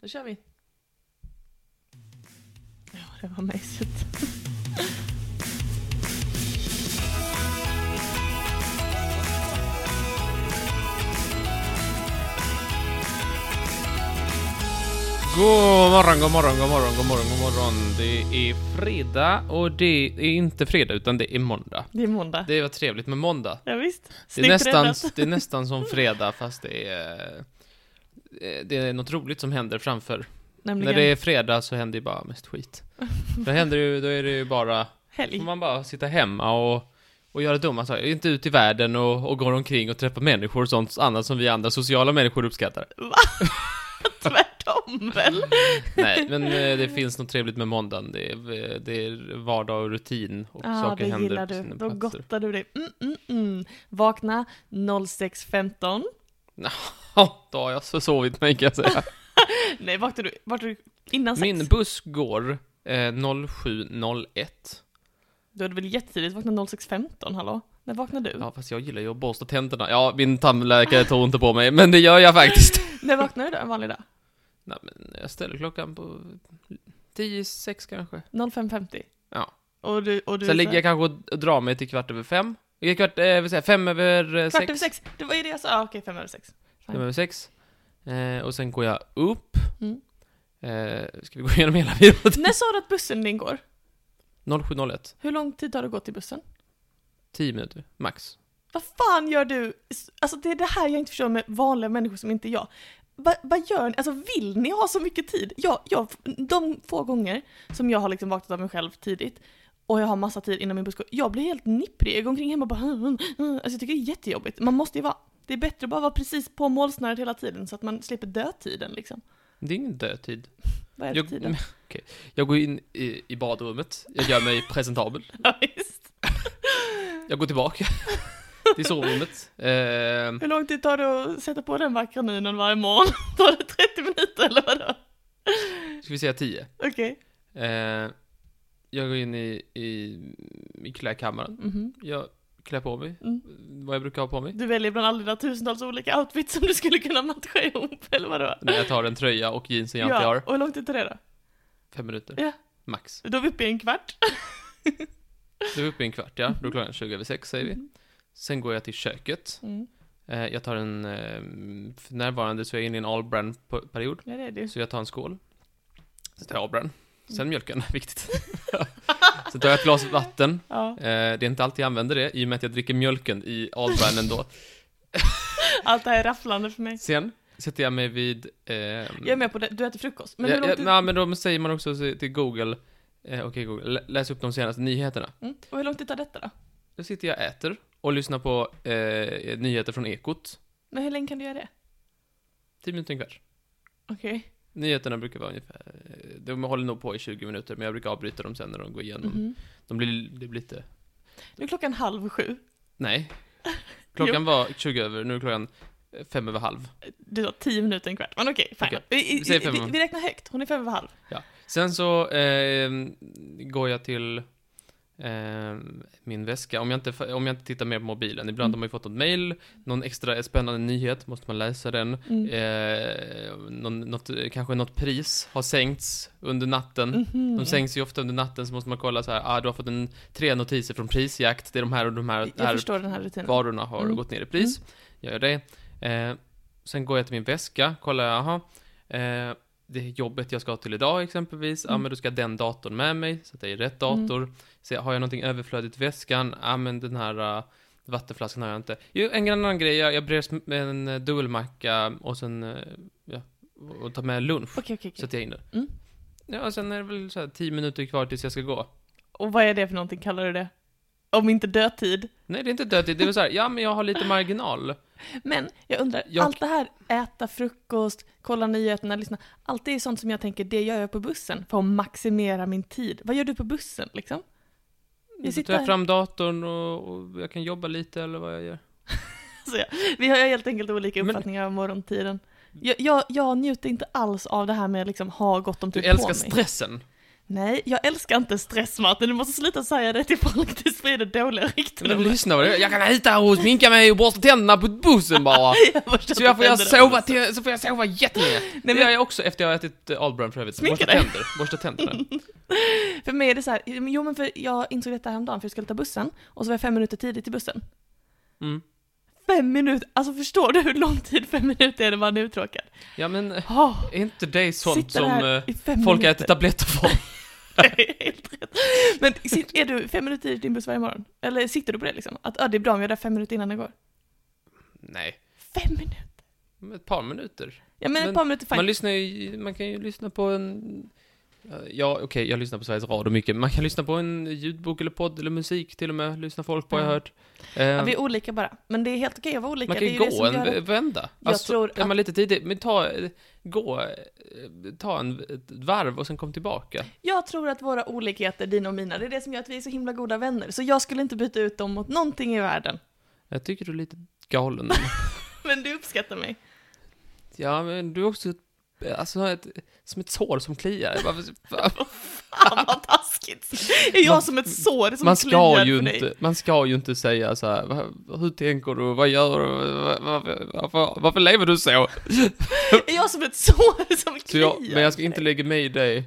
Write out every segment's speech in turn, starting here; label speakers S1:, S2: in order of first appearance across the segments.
S1: Då kör vi. Ja, det var mejset.
S2: God morgon, god morgon, god morgon, god morgon, god morgon. Det är fredag och det är inte fredag utan det är måndag.
S1: Det är måndag.
S2: Det var trevligt med måndag.
S1: Ja, visst.
S2: Det är, nästan,
S1: räddat.
S2: det är nästan som fredag fast det är... eh, Det är något roligt som händer framför.
S1: Nämligen
S2: När det är fredag så händer ju bara mest skit. Då händer det ju, då är det ju bara... Får
S1: helg.
S2: man bara sitta hemma och, och göra dumma saker. Inte ut i världen och, och gå omkring och träffa människor och sånt annat som vi andra sociala människor uppskattar.
S1: Tvärtom
S2: Mm.
S1: väl?
S2: Nej, men eh, det finns något trevligt med måndagen. Det är, eh, det är vardag och rutin och
S1: Ja, ah,
S2: saker
S1: det
S2: händer
S1: gillar
S2: på
S1: du.
S2: sina
S1: Då
S2: platser.
S1: gottar du dig. Mm, mm, mm. Vakna 06.15.
S2: Ja, då har jag försovit mig kan jag säga.
S1: Nej, vaknade du, vaknade du innan sex?
S2: Min buss går eh, 07.01.
S1: Du hade väl jättetidigt vaknat 06.15, hallå? När vaknade du?
S2: Ja, fast jag gillar ju att borsta tänderna. Ja, min tandläkare tror inte på mig, men det gör jag faktiskt.
S1: När vaknade du då, en vanlig dag?
S2: Nej, men jag ställer klockan på 10.06 kanske.
S1: 05.50?
S2: Ja.
S1: Och du, och du
S2: Sen ligger jag kanske och drar mig till kvart över fem. Eller Kvart, eh, vill säga, fem över eh,
S1: Kvart
S2: sex.
S1: över sex? Det var ju det jag sa, ah, okej, fem över sex. Fine.
S2: Nummer sex. Eh, och sen går jag upp.
S1: Mm.
S2: Eh, ska vi gå igenom hela videon?
S1: När sa du att bussen din går?
S2: 07.01.
S1: Hur lång tid har du gått till bussen?
S2: 10 minuter, max.
S1: Vad fan gör du? Alltså det är det här jag inte förstår med vanliga människor som inte är jag. Va, vad gör ni? Alltså vill ni ha så mycket tid? Jag, jag, de få gånger som jag har liksom vaknat av mig själv tidigt och jag har massa tid innan min buss går, jag blir helt nipprig. Jag går omkring hemma och bara "Mm, mm, mm." Alltså jag tycker det är jättejobbigt. Man måste ju vara, det är bättre att bara vara precis på målsnöret hela tiden så att man slipper dödtiden liksom.
S2: Det är ingen dödtid.
S1: Vad är det för
S2: Jag,
S1: tiden?
S2: Okej. jag går in i, i badrummet, jag gör mig presentabel.
S1: Ja, visst.
S2: Jag går tillbaka till sovrummet. Eh,
S1: Hur lång tid tar det att sätta på den vackra minen varje morgon? Tar det 30 minuter eller vadå?
S2: ska vi säga 10.
S1: Okej.
S2: Eh, jag går in i, i, i klädkammaren.
S1: Mhm.
S2: Jag klär på mig, eh,
S1: Mm.
S2: vad jag brukar ha på mig.
S1: Du väljer bland alla dina tusentals olika outfits som du skulle kunna matcha ihop, eller vadå?
S2: När jag tar en tröja och jeans som jag inte
S1: Ja,
S2: har.
S1: och hur lång tid tar det
S2: Fem minuter,
S1: Ja.
S2: max.
S1: då? Då är vi uppe i en kvart.
S2: Då är vi uppe i en kvart, ja. Då är klockan 20 över 6 säger vi. Sen går jag till köket.
S1: Mm.
S2: Eh, jag tar en... Eh, för närvarande så är jag inne i en all brand po- period.
S1: Ja, det är det ju.
S2: Så jag tar en skål. Sen tar jag all brand.
S1: Mm.
S2: Sen mjölken, viktigt. Sen tar jag ett glas vatten.
S1: Ja.
S2: Eh, det är inte alltid jag använder det, i och med att jag dricker mjölken i all brand ändå.
S1: Allt det här är rafflande för mig.
S2: Sen sätter jag mig vid... Eh,
S1: Jag är med på det, du äter frukost. Men
S2: ja,
S1: hur lång
S2: ja,
S1: tid,
S2: ja, men då säger man också till Google, eh, okej Google, lä- läs upp de senaste nyheterna.
S1: mm. och hur lång tid tar detta då?
S2: Då sitter jag och äter och lyssnar på eh, nyheter från Ekot.
S1: Men hur länge kan du göra det?
S2: 10 minuter, en kvart.
S1: Okej.
S2: Nyheterna brukar vara ungefär, eh, de håller nog på i 20 minuter, men jag brukar avbryta dem sen när de går igenom.
S1: Mhm.
S2: De blir, det blir lite,
S1: Nu är klockan halv sju.
S2: nej. Klockan var 20 över, nu är klockan eh, fem över halv.
S1: Du sa tio minuter, en kvart. Men okej, fine.
S2: Okej,
S1: Vi, i-
S2: vi säger fem.
S1: vi, vi räknar högt, hon är fem över halv.
S2: Sen så eh, går jag till eh, min väska, om jag, inte, om jag inte tittar mer på mobilen.
S1: Mm.
S2: Ibland har man ju fått något mail, någon extra spännande nyhet, måste man läsa den.
S1: Mm.
S2: Eh, någon, något, kanske något pris har sänkts under natten.
S1: Mhm.
S2: mm. De sänks ju ofta under natten så måste man kolla så här, ah, du har fått en, tre notiser från prisjakt, det är de här och de här,
S1: Jag
S2: här
S1: förstår den här rutinen.
S2: varorna har
S1: Mm.
S2: gått ner i pris. Jag gör det. Eh, sen går jag till min väska, kollar, jaha, eh, det jobbet jag ska till idag exempelvis, ja ah,
S1: Mm.
S2: men då ska den datorn med mig, så att det är rätt dator. Se, har jag någonting överflödigt i väskan, ja ah, men den här eh, vattenflaskan har jag inte. Jo, en annan grej, jag, jag brer sm- en eh, dubbelmacka och sen, eh, ja, och tar med lunch.
S1: Okej, okej, okej.
S2: Sätter jag in det.
S1: Mm.
S2: Ja, och sen är det väl så här 10 minuter kvar tills jag ska gå.
S1: Och vad är det för någonting, kallar du det? Om inte dödtid.
S2: Nej, det är inte dödtid. Det är väl så här, ja men jag har lite marginal.
S1: Men jag undrar,
S2: Jag-
S1: allt det här, äta frukost, kolla nyheterna, lyssna. Allt det är sånt som jag tänker, det gör jag på bussen för att maximera min tid. Vad gör du på bussen liksom? sitter
S2: Jag sitter tar
S1: här.
S2: jag fram datorn och, och jag kan jobba lite eller vad jag gör.
S1: Så jag, vi har ju helt enkelt olika
S2: Men-
S1: uppfattningar om morgontiden. Jag, jag, jag njuter inte alls av det här med att liksom ha gott om
S2: Du
S1: tid på mig.
S2: älskar stressen.
S1: Nej, jag älskar inte stress Martin, du måste sluta säga det till folk, du sprider dåliga rykten.
S2: Men lyssna vad det är. Jag kan äta och sminka mig och borsta tänderna på bussen bara.
S1: Jag förstår
S2: Så jag får jag
S1: inte vad du
S2: sova, till, så får jag sova jättelänge.
S1: men-
S2: Det gör jag också efter jag har ätit eh, Albrand för övrigt.
S1: Sminka
S2: borsta
S1: dig.
S2: tänder. Borsta tänderna.
S1: menar. För mig är det så här, jo men för jag insåg detta häromdagen för jag skulle ta bussen, och så var jag fem minuter tidigt till bussen.
S2: Mm.
S1: Fem minuter, alltså förstår du hur lång tid fem minuter är när man är uttråkad?
S2: Ja men, eh,
S1: Oh,
S2: är inte det sånt
S1: sitter
S2: som
S1: här
S2: eh,
S1: i fem
S2: folk
S1: minuter.
S2: äter tabletter för?
S1: Det är helt rätt. Men sit- är du fem minuter i din buss varje morgon? Eller sitter du på det liksom? Att ja, det är bra om jag är där fem minuter innan den går.
S2: Nej,
S1: Fem minuter?
S2: men ett par minuter.
S1: Ja men,
S2: Men
S1: ett par minuter fine.
S2: Man lyssnar ju, man kan ju lyssna på en... Ja, okej, jag lyssnar på Sveriges Radio mycket. men Man kan lyssna på en ljudbok eller podd eller musik till och med. Lyssna folk på, har jag
S1: Mm.
S2: hört. Eh,
S1: ja, vi är olika bara. Men det är helt okej att vara olika.
S2: man kan
S1: det
S2: ju
S1: är det
S2: gå
S1: som
S2: en
S1: gör att-
S2: v- vända. Alltså,
S1: Jag tror
S2: är
S1: att-
S2: man lite tidig, men ta, eh, gå, eh, ta en, ett varv och sen kom tillbaka.
S1: Jag tror att våra olikheter, dina och mina, det är det som gör att vi är så himla goda vänner. Så jag skulle inte byta ut dem mot någonting i världen.
S2: Jag tycker du är lite galen.
S1: Men du uppskattar mig.
S2: ja, men du är också ett, alltså, ett, som ett sår som kliar. Varför-
S1: Fan vad taskigt. Är jag
S2: Man-
S1: som ett sår som
S2: man
S1: kliar
S2: ska
S1: för
S2: ju
S1: dig?
S2: inte, man ska ju inte säga så här, "Va- hur tänker du, vad gör du, Va- varför, varför, varför lever du så?
S1: Är jag som ett sår som kliar?
S2: så jag, men jag ska inte lägga mig i dig,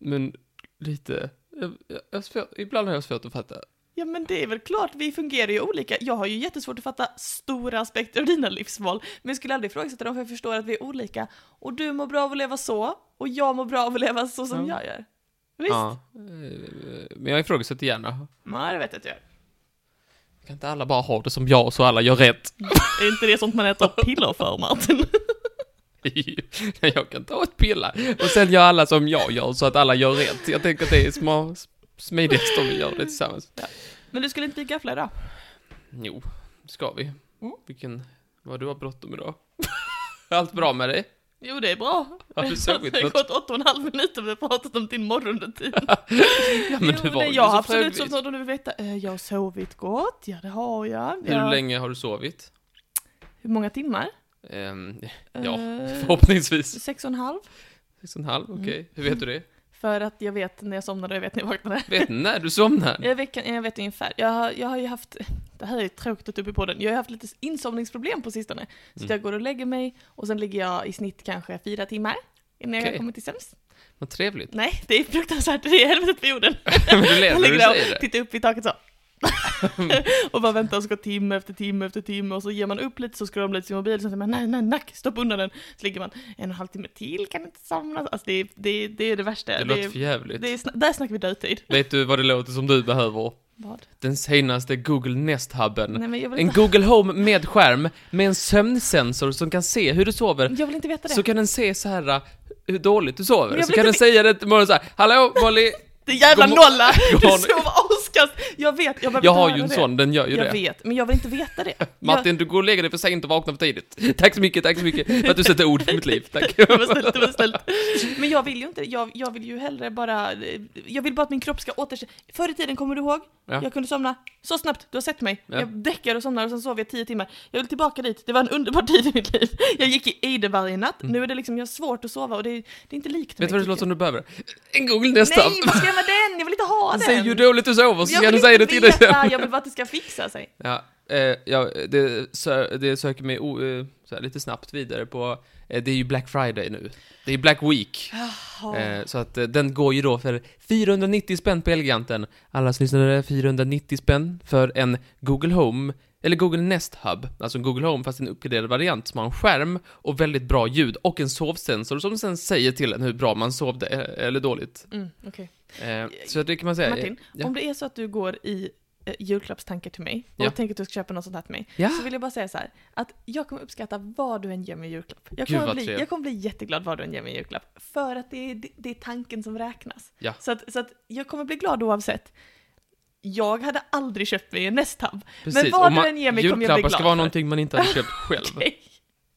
S2: men lite, jag, jag, jag har svårt, ibland har jag svårt att fatta.
S1: Ja men det är väl klart, vi fungerar ju olika. Jag har ju jättesvårt att fatta stora aspekter av dina livsval, men jag skulle aldrig ifrågasätta dem för jag förstår att vi är olika. Och du mår bra av att leva så, och jag mår bra av att leva så som
S2: Ja.
S1: jag gör. Visst?
S2: Ja, eh, men jag ifrågasätter gärna.
S1: Nej, det vet jag att jag gör.
S2: Kan inte alla bara ha det som jag så alla gör rätt?
S1: Är inte det sånt man äter piller för, Martin?
S2: Nej, jag kan ta ett piller och sen gör alla som jag gör så att alla gör rätt. Jag tänker att det är små, smidigast om vi gör det tillsammans.
S1: Men du skulle inte bli gaffla idag?
S2: Jo, ska vi.
S1: Mm.
S2: Vilken... Vad du har bråttom idag. Allt bra med dig?
S1: Jo, det är bra.
S2: Har du sovit
S1: det har
S2: något?
S1: gått åtta och en halv minut och vi har pratat om din morgonrutin.
S2: Ja, men
S1: jo,
S2: du var
S1: nej,
S2: ju
S1: jag har
S2: så
S1: absolut som
S2: fredvis.
S1: någon du vill veta. Eh, Jag har sovit gott, ja det har jag.
S2: Hur
S1: Ja.
S2: länge har du sovit?
S1: Hur många timmar?
S2: Ehm, ja,
S1: Eh,
S2: förhoppningsvis.
S1: Sex och en halv.
S2: Sex och en halv, okej.
S1: Mm.
S2: Hur vet du det?
S1: För att jag vet när jag somnar och jag vet när jag vaknar.
S2: Vet ni när du somnar?
S1: Jag vet, jag vet ungefär. Jag har, jag har ju haft, det här är ju tråkigt att ta upp i podden, jag har haft lite insomningsproblem på sistone. Så
S2: Mm.
S1: jag går och lägger mig och sen ligger jag i snitt kanske fyra timmar innan jag
S2: Okej.
S1: kommer till sämst.
S2: Vad trevligt.
S1: Nej, det är fruktansvärt, det är helvetet på jorden.
S2: Men du ler
S1: Jag
S2: när du
S1: ligger
S2: säger
S1: där och
S2: det.
S1: tittar upp i taket så. och bara väntar och så går timme efter timme efter timme och så ger man upp lite så scrollar man lite sin mobil och sen säger man nej, nej, nack, stoppa undan den. Så ligger man en och en halv timme till, kan inte somna. Alltså det, är- det, är- det är det värsta.
S2: Det
S1: Det
S2: låter
S1: är, det
S2: förjävligt.
S1: är, sna- där snackar vi dödtid.
S2: Vet du vad det låter som du behöver?
S1: Vad?
S2: Den senaste Google Nest-hubben.
S1: Nej men jag vill
S2: En
S1: inte,
S2: Google Home med skärm, med en sömnsensor som kan se hur du sover
S1: jag vill inte veta det.
S2: Så kan den se så här uh, hur dåligt du sover.
S1: Men jag
S2: Så
S1: vill
S2: kan den
S1: inte
S2: säga det till morgonen så här. Hallå Molly!
S1: Det är jävla
S2: God mo-
S1: nolla! Du
S2: God morgon.
S1: sover askast! Jag vet, jag behöver
S2: Jag
S1: inte
S2: har
S1: höra
S2: ju en
S1: det.
S2: sån, den gör ju
S1: Jag
S2: det.
S1: vet, men jag vill inte veta det.
S2: Martin, du går och lägger dig för sent och vaknar för tidigt. Tack så mycket, tack så mycket för att du sätter ord för mitt liv. Tack.
S1: Jag... Det var snällt, det var snällt. Men jag vill ju inte det. jag, jag vill ju hellre bara... Jag vill bara att min kropp ska återställa... Förr i tiden, kommer du ihåg?
S2: Ja.
S1: Jag kunde somna så snabbt, du har sett mig.
S2: Ja.
S1: Jag däckar och somnar och sen sov jag tio timmar. Jag vill tillbaka dit, det var en underbar tid i mitt liv. Jag gick i ide varje natt, nu är det liksom, jag har svårt att sova och det, det är inte likt
S2: Mm. Vet
S1: mig.
S2: du vad det låter
S1: tycker
S2: som du behöver? En Google
S1: jag.
S2: Nest-app.
S1: Nej, vad ska jag med den? Jag vill inte ha den!
S2: Säg hur dåligt du sover så
S1: jag
S2: kan
S1: vill
S2: du säga det
S1: inte
S2: till dig
S1: veta,
S2: själv.
S1: jag vill bara att det ska fixa sig.
S2: Ja, eh, ja det, sö, det söker mig o, eh, så här, lite snabbt vidare på, eh, det är ju Black Friday nu. Det är Black Week.
S1: Jaha.
S2: Eh, så att eh, den går ju då för 490 spänn på Elgiganten. Allas lyssnare, 490 spänn för en Google Home, eller Google Nest Hub. Alltså en Google Home fast en uppgraderad variant som har en skärm och väldigt bra ljud och en sovsensor som sen säger till en hur bra man sovde eh, eller dåligt.
S1: Mm, okej.
S2: Eh, så det kan man säga.
S1: Martin,
S2: ja.
S1: om det är så att du går i eh, julklappstankar till mig och
S2: Ja.
S1: tänker att du ska köpa något sånt här till mig,
S2: Ja.
S1: så vill jag bara säga så här, att jag kommer uppskatta vad du än ger mig i julklapp. Jag
S2: Gud,
S1: kommer,
S2: vad
S1: bli,
S2: trevligt.
S1: jag kommer bli jätteglad vad du än ger mig i julklapp, för att det är, det, det är tanken som räknas.
S2: Ja.
S1: Så, att, så att jag kommer bli glad oavsett. Jag hade aldrig köpt mig en Nesthub.
S2: Precis.
S1: vad
S2: och
S1: du än ger mig kommer jag bli
S2: julklappar ska
S1: glad
S2: vara
S1: för.
S2: någonting man inte hade köpt själv.
S1: Okej.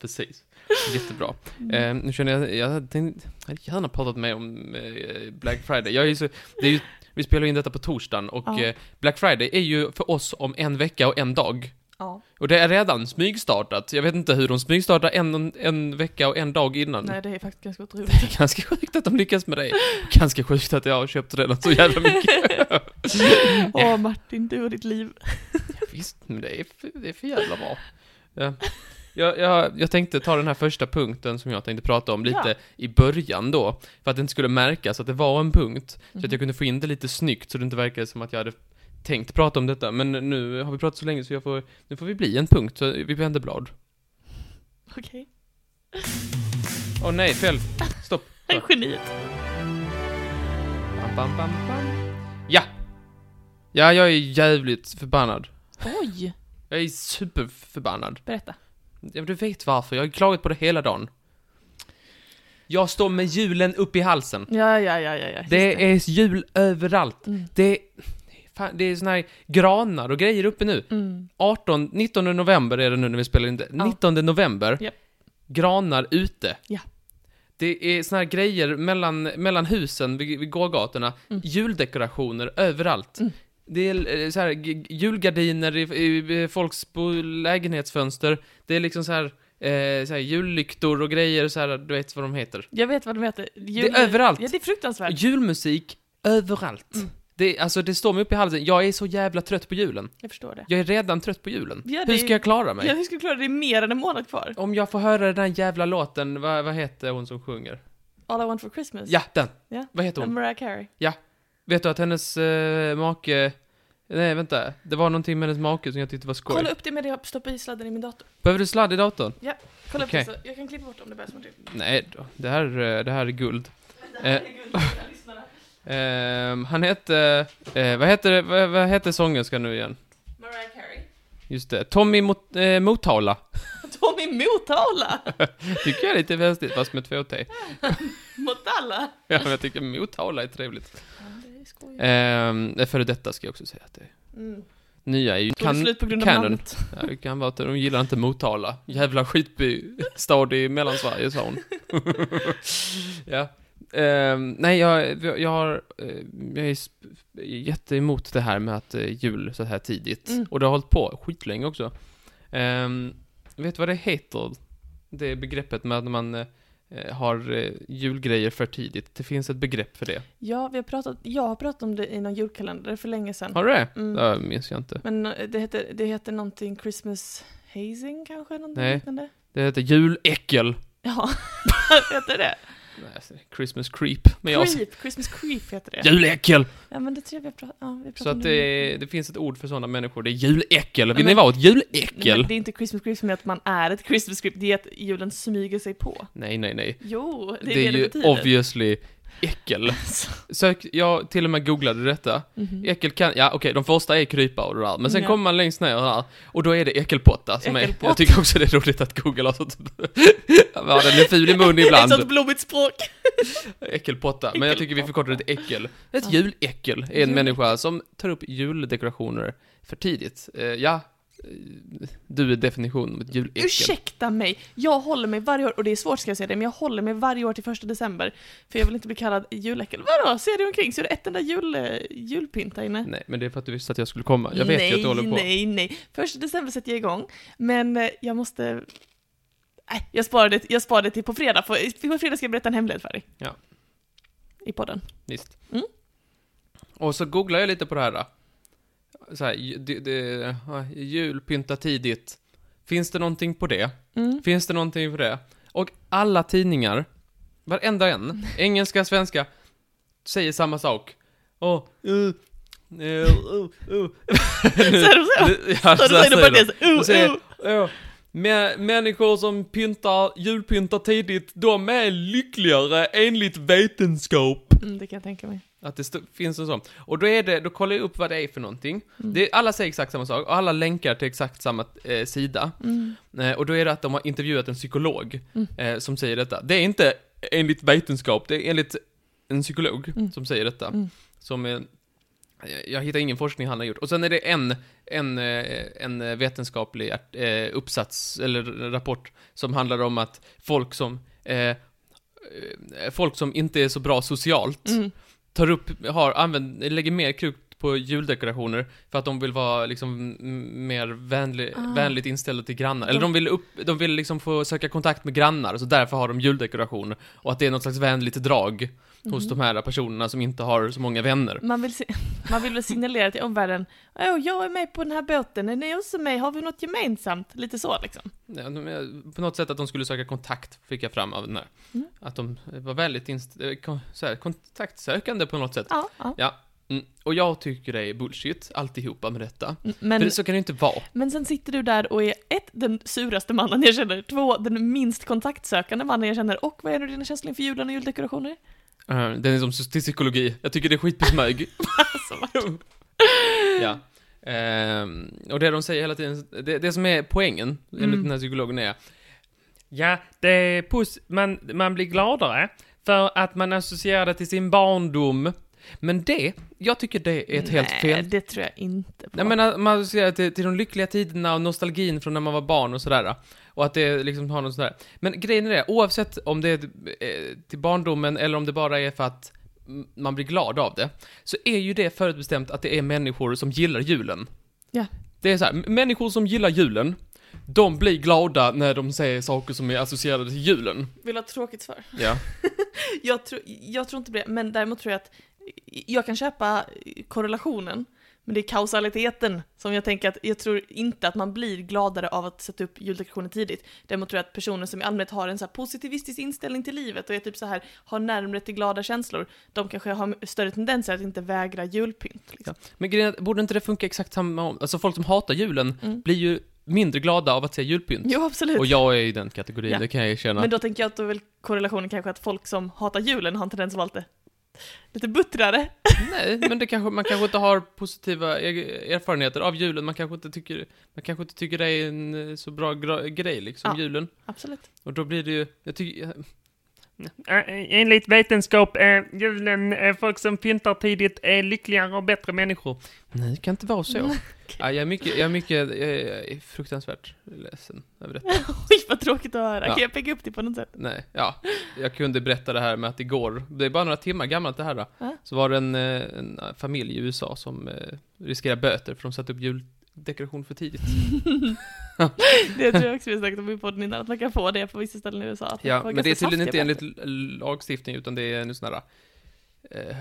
S2: Precis. Jättebra.
S1: Mm.
S2: Eh, nu känner jag, jag hade, tänkt, jag hade gärna pratat med om eh, Black Friday. Jag är ju så, det är ju, vi spelar ju in detta på torsdagen och
S1: Ja.
S2: eh, Black Friday är ju för oss om en vecka och en dag.
S1: Ja.
S2: Och det är redan smygstartat. Jag vet inte hur de smygstartar en, en vecka och en dag innan.
S1: Nej, det är faktiskt ganska otroligt.
S2: Det är ganska sjukt att de lyckas med det. Ganska sjukt att jag har köpt redan så jävla mycket.
S1: Åh Martin, du och ditt liv.
S2: Visst, men det är för, det är för jävla bra. Ja. Jag, jag, jag tänkte ta den här första punkten som jag tänkte prata om lite
S1: Ja.
S2: i början då, för att det inte skulle märkas att det var en punkt, så att jag
S1: Mhm.
S2: kunde få in det lite snyggt så det inte verkade som att jag hade tänkt prata om detta, men nu har vi pratat så länge så jag får, nu får vi bli en punkt, så vi vänder blad.
S1: Mm. Okej.
S2: Åh nej, fel! Stopp!
S1: Okay. Geniet.
S2: Bam, bam, bam, bam. Ja! Ja, jag är jävligt förbannad.
S1: Oj,
S2: Jag är superförbannad.
S1: berätta.
S2: Ja, men du vet varför, jag har klagat på det hela dagen. Jag står med julen upp i halsen.
S1: Ja, ja, ja, ja. ja. just
S2: Det är jul överallt.
S1: Mm.
S2: Det, fan, det är såna här granar och grejer uppe nu.
S1: Mm.
S2: 18, 19 november är det nu när vi spelar in det.
S1: Ja.
S2: 19 november.
S1: Japp.
S2: Granar ute.
S1: Ja.
S2: Det är såna här grejer mellan, mellan husen vid, vid gågatorna.
S1: Mm.
S2: Juldekorationer överallt.
S1: Mm.
S2: Det är eh, så här, g- g- julgardiner i, i, i folks bo- lägenhetsfönster. Det är liksom så här, eh, så här jullyktor och grejer, så här, du vet vad de heter.
S1: Jag vet vad de heter. Jul-
S2: Det är överallt.
S1: Ja, Mm. det är fruktansvärt.
S2: Julmusik överallt. Det, alltså, det står mig upp i halsen. Jag är så jävla trött på julen.
S1: Jag förstår det.
S2: Jag är redan trött på julen.
S1: Ja, det
S2: Hur
S1: är-
S2: ska jag klara mig?
S1: Ja, hur ska du klara det? Det är mer än en månad kvar.
S2: Om jag får höra den här jävla låten, vad, vad heter hon som sjunger?
S1: All I want for Christmas.
S2: Ja, den!
S1: Ja.
S2: Vad heter hon?
S1: Mariah Carey.
S2: Vet du att hennes eh, make... Nej, vänta. Det var någonting med hennes make som jag tyckte var skoj.
S1: Kolla upp det med det jag stoppar i sladden i min dator.
S2: Behöver du sladd i datorn?
S1: Kolla
S2: Okej.
S1: upp det så. Jag kan klippa bort om det behövs Martin.
S2: Nej då. Det här, eh, det här är guld.
S1: Det
S2: Eh.
S1: här är guld för mina lyssnare.
S2: Ehm, han hette... Eh, vad heter vad, vad heter sångerskan nu igen?
S1: Mariah Carey.
S2: Just det. Tommy Mot, eh, Motala.
S1: Tommy Motala!
S2: Tycker jag är lite festligt, fast med två T.
S1: Motala!
S2: Ja, men jag tycker Motala är trevligt.
S1: Ja, det är skoj.
S2: Eh, före detta ska jag också säga att det
S1: Mm.
S2: nya är ju...
S1: Tog det slut på grund av
S2: kanon.
S1: namnet.
S2: Ja, det kan vara att de gillar inte Motala. Jävla skitby, stad i Mellansverige, sa hon. ja. Ehm, nej, jag, jag, har, eh, jag är sp- jätteemot det här med att eh, jul så här tidigt.
S1: Mm.
S2: Och det har hållit på skitlänge också. Ehm, vet du vad det heter? Det begreppet med att man eh, har eh, julgrejer för tidigt. Det finns ett begrepp för det.
S1: Ja, vi har pratat, jag har pratat om det i någon julkalender för länge sedan.
S2: Har du det?
S1: Mm.
S2: Det minns jag inte.
S1: Men eh, det heter, det heter någonting Christmas hazing kanske? Någonting
S2: Nej.
S1: liknande?
S2: Det heter juläckel.
S1: Ja, heter det?
S2: Nej, Christmas creep. Men jag
S1: Creep, Christmas creep heter det.
S2: Juläckel!
S1: Ja, men det tror jag vi har pratat ja, vi har pratat
S2: Så
S1: om.
S2: att det, det finns ett ord för sådana människor, det är juläckel. Vill
S1: men-
S2: ni vara ett
S1: Nej, men
S2: juläckel?
S1: det är inte Christmas creep som är att man är ett Christmas creep, det är att julen smyger sig på.
S2: Nej, nej, nej.
S1: Jo, det är
S2: Det
S1: det
S2: är,
S1: det
S2: ju
S1: betyder. Alltså.
S2: obviously äckel.
S1: Så-
S2: Sök, jag till och med googlade detta.
S1: Mhm.
S2: Äckel kan, ja okej, de första är krypa och det där, men sen
S1: Ja.
S2: kommer man längst ner och, där, och då är det äckelpotta som är,
S1: Äckelpotta.
S2: jag tycker också det är roligt att googla typ- har sånt, ja den är ful i mun ibland.
S1: Ett sånt blommigt språk.
S2: Äckelpotta, men jag tycker vi förkortar det till äckel. Ett
S1: Ja.
S2: juläckel är en
S1: Juläckel.
S2: människa som tar upp juldekorationer för tidigt. Eh, ja, eh, du är definition av ett juläckel.
S1: Ursäkta mig, jag håller mig varje år, och det är svårt ska jag säga det, men jag håller mig varje år till första december. För jag vill inte bli kallad juläckel. Vadå, ser du omkring? Ser du ett enda jul, eh, julpynt där inne?
S2: Nej, men det är för att du visste att jag skulle komma. Jag vet ju att du håller på.
S1: Nej, nej, Första december sätter jag igång, men eh, jag måste... Nej, jag sparar det, jag sparar det till på fredag, för på fredag ska jag berätta en hemlighet för dig.
S2: Ja.
S1: I podden.
S2: Visst.
S1: Mm.
S2: Och så googlar jag lite på det här. då. Så här ju- det, det, ja, julpynta tidigt. Finns det någonting på det?
S1: Mm.
S2: Finns det någonting på det? Och alla tidningar, varenda en, engelska, svenska, säger samma sak. Åh, uh, uh, uh, uh.
S1: Så är de så.
S2: Ja,
S1: Så
S2: så
S1: då
S2: här
S1: säger du bara
S2: säger de.
S1: det, så,
S2: Och säger,
S1: oh, oh.
S2: Ja. Mä- människor som pyntar, julpyntar tidigt, de är lyckligare enligt vetenskap.
S1: Mm, det kan jag tänka mig.
S2: Att det st- finns en sån. Och då är det, då kollar jag upp vad det är för någonting.
S1: Mm.
S2: Det, alla säger exakt samma sak, och alla länkar till exakt samma eh, sida.
S1: Mm.
S2: Eh, och då är det att de har intervjuat en psykolog eh, som säger detta. Det är inte enligt vetenskap, det är enligt en psykolog
S1: Mm.
S2: som säger detta.
S1: Mm.
S2: Som, eh, jag hittar ingen forskning han har gjort. Och sen är det en, en, eh, en vetenskaplig art- eh, uppsats, eller rapport, som handlar om att folk som, eh, eh, folk som inte är så bra socialt,
S1: Mm.
S2: tar upp, har, använder, lägger mer krut på juldekorationer för att de vill vara liksom m- mer vänlig,
S1: Ah.
S2: vänligt inställda till grannar. Eller
S1: De-
S2: de vill, upp, de vill liksom få söka kontakt med grannar, så därför har de juldekorationer. Och att det är något slags vänligt drag hos
S1: Mm.
S2: de här personerna som inte har så många vänner.
S1: Man vill, se- man vill väl signalera till omvärlden, åh jag är med på den här båten, är ni också med, har vi något gemensamt? Lite så liksom.
S2: Ja, de är- På något sätt att de skulle söka kontakt, fick jag fram av den här.
S1: Mm.
S2: Att de var väldigt inst- eh, kon- så här, kontaktsökande på något sätt.
S1: Ja, ja.
S2: Mm. Och jag tycker det är bullshit, alltihopa med detta.
S1: Men,
S2: För det- så kan det ju inte vara.
S1: men sen sitter du där och är ett, den suraste mannen jag känner, två, den minst kontaktsökande mannen jag känner, och vad är nu dina känslor inför julen och juldekorationer?
S2: Eh, Den är som till psykologi. Jag tycker det är skit på smög. ja. Ehm, och det de säger hela tiden, det, det som är poängen, enligt
S1: Mm.
S2: den här psykologen är... Ja, det är pos- man, man blir gladare för att man associerar det till sin barndom. Men det, jag tycker det är ett helt
S1: Nej,
S2: fel
S1: det tror jag inte på.
S2: Nej men att man associerar till, till de lyckliga tiderna och nostalgin från när man var barn och sådär. Och att det liksom har något sådär. Men grejen är det, oavsett om det är eh, till barndomen eller om det bara är för att mm, man blir glad av det. Så är ju det förutbestämt att det är människor som gillar julen.
S1: Ja.
S2: Det är så här, m- människor som gillar julen, de blir glada när de säger saker som är associerade till julen.
S1: Vill ha ett tråkigt svar?
S2: Ja.
S1: Jag, tror- jag tror inte på det, men däremot tror jag att jag kan köpa korrelationen, men det är kausaliteten som jag tänker att jag tror inte att man blir gladare av att sätta upp juldekorationer tidigt. Däremot tror jag att personer som i allmänhet har en så här positivistisk inställning till livet och är typ så här har närmare till glada känslor, de kanske har större tendenser att inte vägra julpynt. Liksom.
S2: Men grejen är, att, borde inte det funka exakt samma om? Alltså folk som hatar julen
S1: Mm.
S2: blir ju mindre glada av att se julpynt.
S1: Jo, absolut.
S2: Och jag är i den kategorin,
S1: Ja.
S2: det kan jag erkänna.
S1: Men då tänker jag att då är väl korrelationen kanske att folk som hatar julen har en tendens att vara lite, lite buttrare.
S2: Nej, men det kanske, man kanske inte har positiva e- erfarenheter av julen. Man kanske inte tycker, man kanske inte tycker det är en eh, så bra gra- grej, liksom,
S1: Ja.
S2: julen.
S1: Absolut.
S2: Och då blir det ju... Jag tycker...
S3: Eh, Enligt vetenskap är julen, eh, folk som pyntar tidigt är lyckligare och bättre människor.
S2: Nej, det kan inte vara så. Ja, jag är mycket, jag är mycket, jag är- jag är fruktansvärt ledsen över detta.
S1: Oj, vad tråkigt att höra.
S2: Ja.
S1: Kan jag pegga upp det på något sätt?
S2: Nej, ja. Jag kunde berätta det här med att igår, det är bara några timmar gammalt det här, då,
S1: Ja.
S2: så var det en, eh, en familj i USA som eh, riskerar böter för de satte upp juldekoration för tidigt.
S1: Det tror jag också vi har snackat om i podden innan, att man kan få det på vissa ställen i USA. Att man
S2: Ja,
S1: får
S2: men
S1: ganska
S2: det är tydligen inte
S1: saftiga
S2: enligt
S1: böter.
S2: l- lagstiftning, utan det är en sån här eh,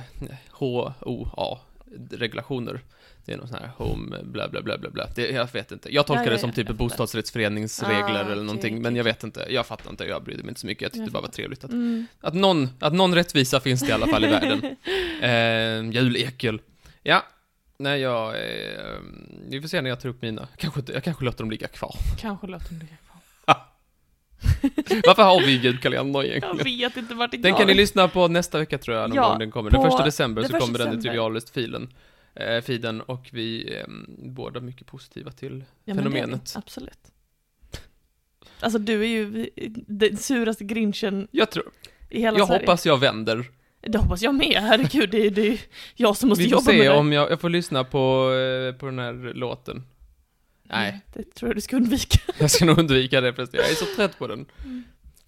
S2: HOA-regulationer. Det är någon sån här home, bla bla bla bla bla. Det, jag vet inte. Jag tolkar
S1: Ja, ja,
S2: det som
S1: ja,
S2: typ
S1: jag fattar.
S2: bostadsrättsföreningsregler
S1: Ah,
S2: eller
S1: okej,
S2: någonting,
S1: okej,
S2: men jag vet inte. Jag fattar inte, jag brydde mig inte så mycket. Jag tyckte
S1: Jag
S2: det bara var
S1: fattar.
S2: trevligt att,
S1: Mm.
S2: att, någon, att någon rättvisa finns det i alla fall i världen. Eh, julekel. Ja. Nej, jag... Eh, vi får se när jag tar upp mina. Kanske, inte- jag kanske låter dem ligga kvar.
S1: Kanske låter det kvar.
S2: Varför har vi julkalender egentligen?
S1: Jag vet inte vart det
S2: Den
S1: går.
S2: kan ni lyssna på nästa vecka tror jag, någon
S1: Ja,
S2: gång den kommer. Den
S1: på-
S2: första december
S1: den
S2: så
S1: första
S2: kommer den i
S1: december.
S2: Trivialist-filen. Eh, feeden, och vi eh, båda mycket positiva till.
S1: Ja, men det är det.
S2: fenomenet.
S1: Absolut. Alltså du är ju den suraste grinchen
S2: Jag tror,
S1: i hela
S2: jag
S1: Sverige.
S2: hoppas jag vänder.
S1: Det hoppas jag med, herregud. Det är, det är jag som måste
S2: Vi får
S1: jobba med
S2: se
S1: det.
S2: om jag, jag får lyssna på, eh, på den här låten. Nej,
S1: Mm, Det tror jag du ska undvika.
S2: jag ska nog undvika det förresten. Jag är så trött på den.
S1: Mm.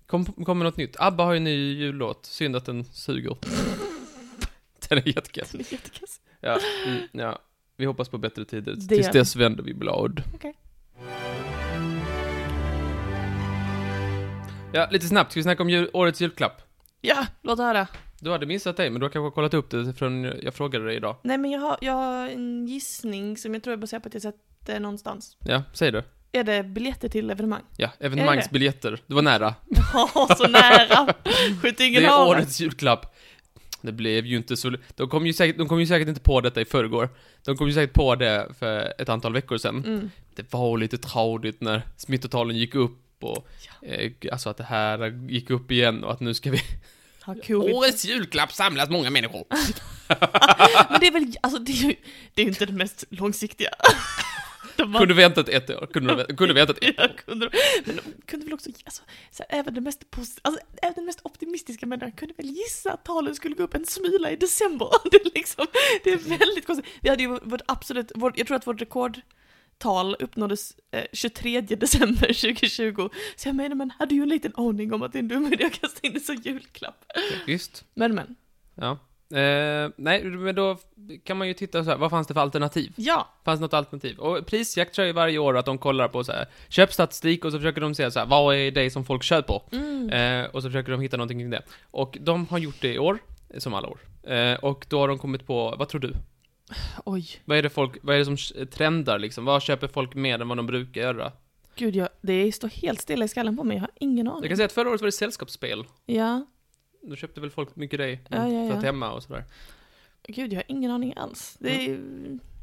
S2: Kom- Kommer något nytt? ABBA har ju en ny jullåt. Synd att den suger. den är jättekass.
S1: Det är jättekass.
S2: Ja, mm, ja. Vi hoppas på bättre tider.
S1: Det-
S2: Tills dess vänder vi blad.
S1: Okej.
S2: Ja, lite snabbt. Ska vi snacka om jul, årets julklapp?
S1: Ja, låt höra.
S2: Du hade missat dig, men du har kanske kollat upp det från jag frågade dig idag.
S1: Nej men jag har, jag har en gissning som jag tror är baserad på att jag sett det någonstans.
S2: Ja, säg du.
S1: Är det biljetter till evenemang?
S2: Ja, evenemangsbiljetter. Du var nära.
S1: Ja, så nära! Skjut
S2: Det
S1: ingen
S2: är
S1: hare.
S2: årets julklapp. Det blev ju inte så... De kom ju säkert, de kom ju säkert inte på detta i förrgår. De kom ju säkert på det för ett antal veckor sedan.
S1: Mm.
S2: det var lite tradigt när smittotalen gick upp och eh, alltså att det här gick upp igen och att nu ska vi...
S1: Ha covid.
S2: Årets julklapp samlas många människor!
S1: Men det är väl, alltså det är ju det är ju inte det mest långsiktiga. De har-
S2: Kunde väntat ett år, kunde, kunde väntat ett år.
S1: Jag kunde, men de kunde väl också, alltså, så här, även, den mest posi- alltså, även den mest optimistiska människan kunde väl gissa att talen skulle gå upp en smula i december. Det är, liksom, det är väldigt konstigt. Vi hade ju vårt absolut, vår, jag tror att vårt rekordtal uppnåddes eh, 23 december 2020. Så jag menar, man hade ju en liten aning om att det är en dum idé att kasta in det som julklapp.
S2: Visst.
S1: Men men,
S2: Ja. Eh, nej, men då kan man ju titta så här, vad fanns det för alternativ?
S1: Ja,
S2: Fanns det något alternativ? Och prisjakt kör ju varje år att de kollar på så här, köpstatistik och så försöker de se så här, vad är det som folk köper?
S1: mm.
S2: Eh, och så försöker de hitta någonting kring det. Och de har gjort det i år, som alla år. Eh, och då har de kommit på, vad tror du?
S1: oj.
S2: Vad är det, folk, vad är det som sh- trendar liksom? Vad köper folk mer än vad de brukar göra?
S1: Gud, jag, det står helt stilla i skallen på mig. Jag har ingen
S2: Jag
S1: aning.
S2: kan säga att förra året var det sällskapsspel.
S1: Ja,
S2: Då köpte väl folk mycket det
S1: Ja, ja, ja.
S2: för att hemma och sådär.
S1: gud, jag har ingen aning alls. Det är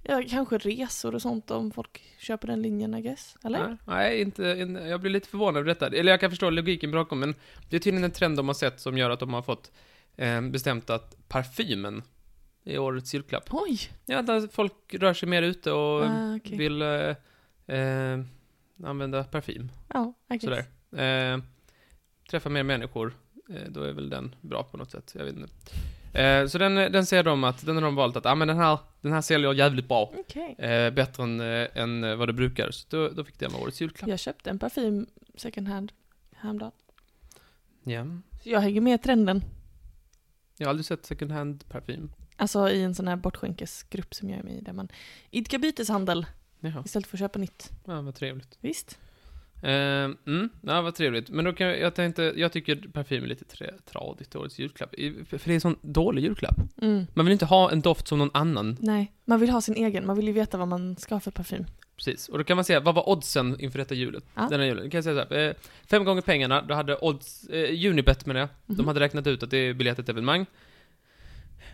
S1: ja, kanske resor och sånt om folk köper den linjen, I guess. Eller?
S2: Nej, Nej, inte, inte, jag blir lite förvånad över detta. Eller jag kan förstå logiken bakom, men det är tydligen en trend de har sett som gör att de har fått eh, bestämt att parfymen är årets julklapp.
S1: Oj!
S2: Ja, där folk rör sig mer ute och
S1: Ah, okej.
S2: vill eh, eh, använda parfym.
S1: Ja, I guess.
S2: Sådär. Eh, träffa mer människor, eh, då är väl den bra på något sätt. Jag vet inte. Eh, så den, den ser de att, den har de valt att, ja ah, men den här, den här säljer jävligt bra.
S1: Okej.
S2: Eh, bättre än, eh, än eh, vad det brukar. Så då, då fick den vara årets julklapp.
S1: Jag köpte en parfym second hand häromdagen.
S2: Ja.
S1: Så jag hänger med i trenden.
S2: Jag har aldrig sett second hand parfym.
S1: Alltså i en sån här bortskänkesgrupp som jag är med i, där man idkar byteshandel
S2: Jaha,
S1: istället för att köpa nytt.
S2: ja, vad trevligt.
S1: Visst?
S2: Eh, mm, ja, vad trevligt. Men då kan jag, jag tänkte, jag tycker parfym är lite tra- tradigt, årets julklapp. I- För det är en sån dålig julklapp.
S1: Mm.
S2: Man vill inte ha en doft som någon annan.
S1: Nej, man vill ha sin egen. Man vill ju veta vad man ska ha för parfym.
S2: Precis. Och då kan man säga, vad var oddsen inför detta julet?
S1: Ja.
S2: Denna julen. Då kan jag säga så här, eh, fem gånger pengarna, då hade odds, eh, Unibet menar jag. De
S1: Mhm.
S2: hade räknat ut att det är biljett till ett evenemang.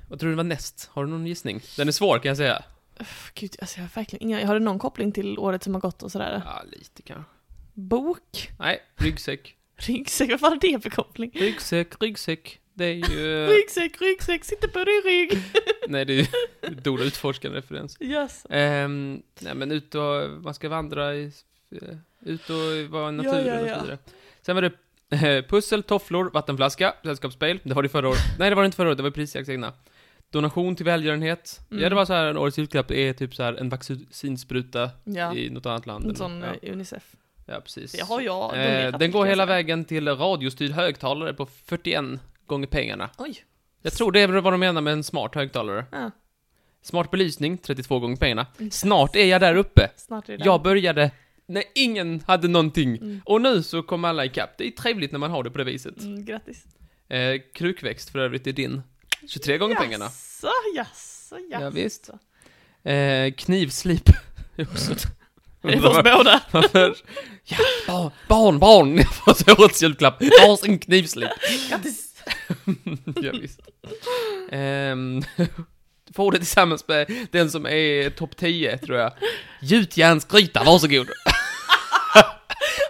S2: Vad tror du var näst? Har du någon gissning? Den är svår kan jag säga.
S1: Öff, Gud, alltså jag har verkligen inga... Har du någon koppling till året som har gått och sådär?
S2: Ja, lite kanske.
S1: Bok?
S2: Nej, ryggsäck.
S1: Ryggsäck? Vad fan är det för koppling?
S2: Ryggsäck, ryggsäck. Det är ju... eh,
S1: Ryggsäck, ryggsäck, sitter på din rygg!
S2: Nej, det är ju Dora utforskande referens.
S1: Yes.
S2: Ehm, nej, men ut och, man ska vandra i, eh, ut och
S1: Ja,
S2: vara i naturen
S1: ja, ja.
S2: och så vidare. Sen var det eh, pussel, tofflor, vattenflaska, sällskapsspel. Det var det förra året. Nej, det var det inte förra året, det var prisjakts egna. Donation till välgörenhet.
S1: Mm.
S2: Ja, det var så här, en årets julklapp är typ så här en vaccinspruta
S1: Ja,
S2: i något annat land.
S1: en
S2: eller
S1: sån
S2: något.
S1: eh, Unicef.
S2: ja. ja, precis.
S1: Det har jag
S2: Eh,
S1: donerat,
S2: den går
S1: kan jag
S2: hela
S1: säga.
S2: vägen till radiostyrd högtalare på 41 gånger pengarna.
S1: Oj.
S2: Jag tror det är vad de menar med en smart högtalare.
S1: Ja.
S2: Smart belysning, 32 gånger pengarna. Snart är jag där uppe.
S1: Snart är det
S2: Jag började när ingen hade någonting.
S1: Mm.
S2: Och nu så kommer alla ikapp. Det är trevligt när man har det på det viset.
S1: Mm, grattis.
S2: Eh, krukväxt för övrigt är din. 23 gånger pengarna.
S1: Jaså, jaså, jaså.
S2: Ja, visst. Eh, knivslip. är också ett-
S1: Det är för oss båda.
S2: Varför? Ja, barn, barn, barn! Jag får så årets julklapp. Varsin knivslip.
S1: Grattis.
S2: ja, visst. Ehm, får det tillsammans med den som är topp 10, tror jag. Gjutjärnsgryta, varsågod.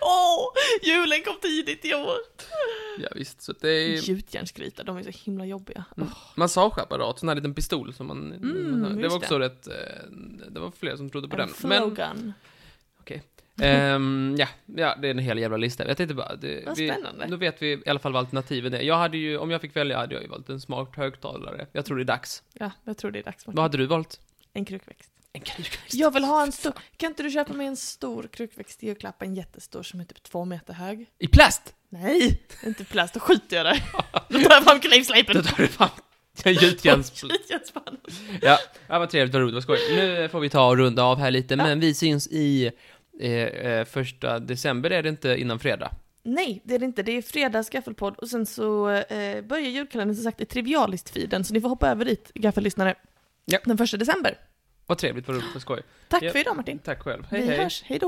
S1: Åh, julen kom tidigt i år.
S2: Ja, visst, så att det är...
S1: Gjutjärnsgryta, de är så himla jobbiga.
S2: Mm. Massageapparat, sån här liten pistol som man...
S1: Mm,
S2: det
S1: just
S2: var också
S1: det.
S2: rätt... eh, Det var flera som trodde på
S1: En
S2: den. Men,
S1: flowgun.
S2: ehm, ja, ja, det är en hel jävla lista. Jag tänkte bara... Det,
S1: Vad spännande.
S2: nu vet vi i alla fall vad alternativen är. Jag hade ju, om jag fick välja, hade jag ju valt en smart högtalare. Jag tror det är dags.
S1: Ja, jag tror det är dags.
S2: Vad hade du valt?
S1: En krukväxt.
S2: En krukväxt.
S1: Jag vill ha en stor. Kan inte du köpa mig en stor krukväxt i julklapp? En jättestor som är typ två meter hög.
S2: I plast!
S1: Nej, inte plast. Då skjuter jag dig. Då tar jag fram knivslipen.
S2: Då tar du fram en gjutjärns...
S1: Gjutjärnspannan.
S2: Ja, ja vad trevligt, vad roligt, vad skoj. Nu får vi ta och runda av här lite, men vi syns i eh, eh, första december, är det inte innan fredag?
S1: Nej, det är det inte. Det är fredags gaffelpodd och sen så eh, börjar julkalendern som sagt i Trivialist-feeden så ni får hoppa över dit, gaffellyssnare,
S2: Ja.
S1: den första december.
S2: Vad trevligt, vad roligt, vad skoj.
S1: Tack
S2: Ja.
S1: för idag Martin.
S2: Tack själv, hej
S1: Vi
S2: hej.
S1: hörs, hej då!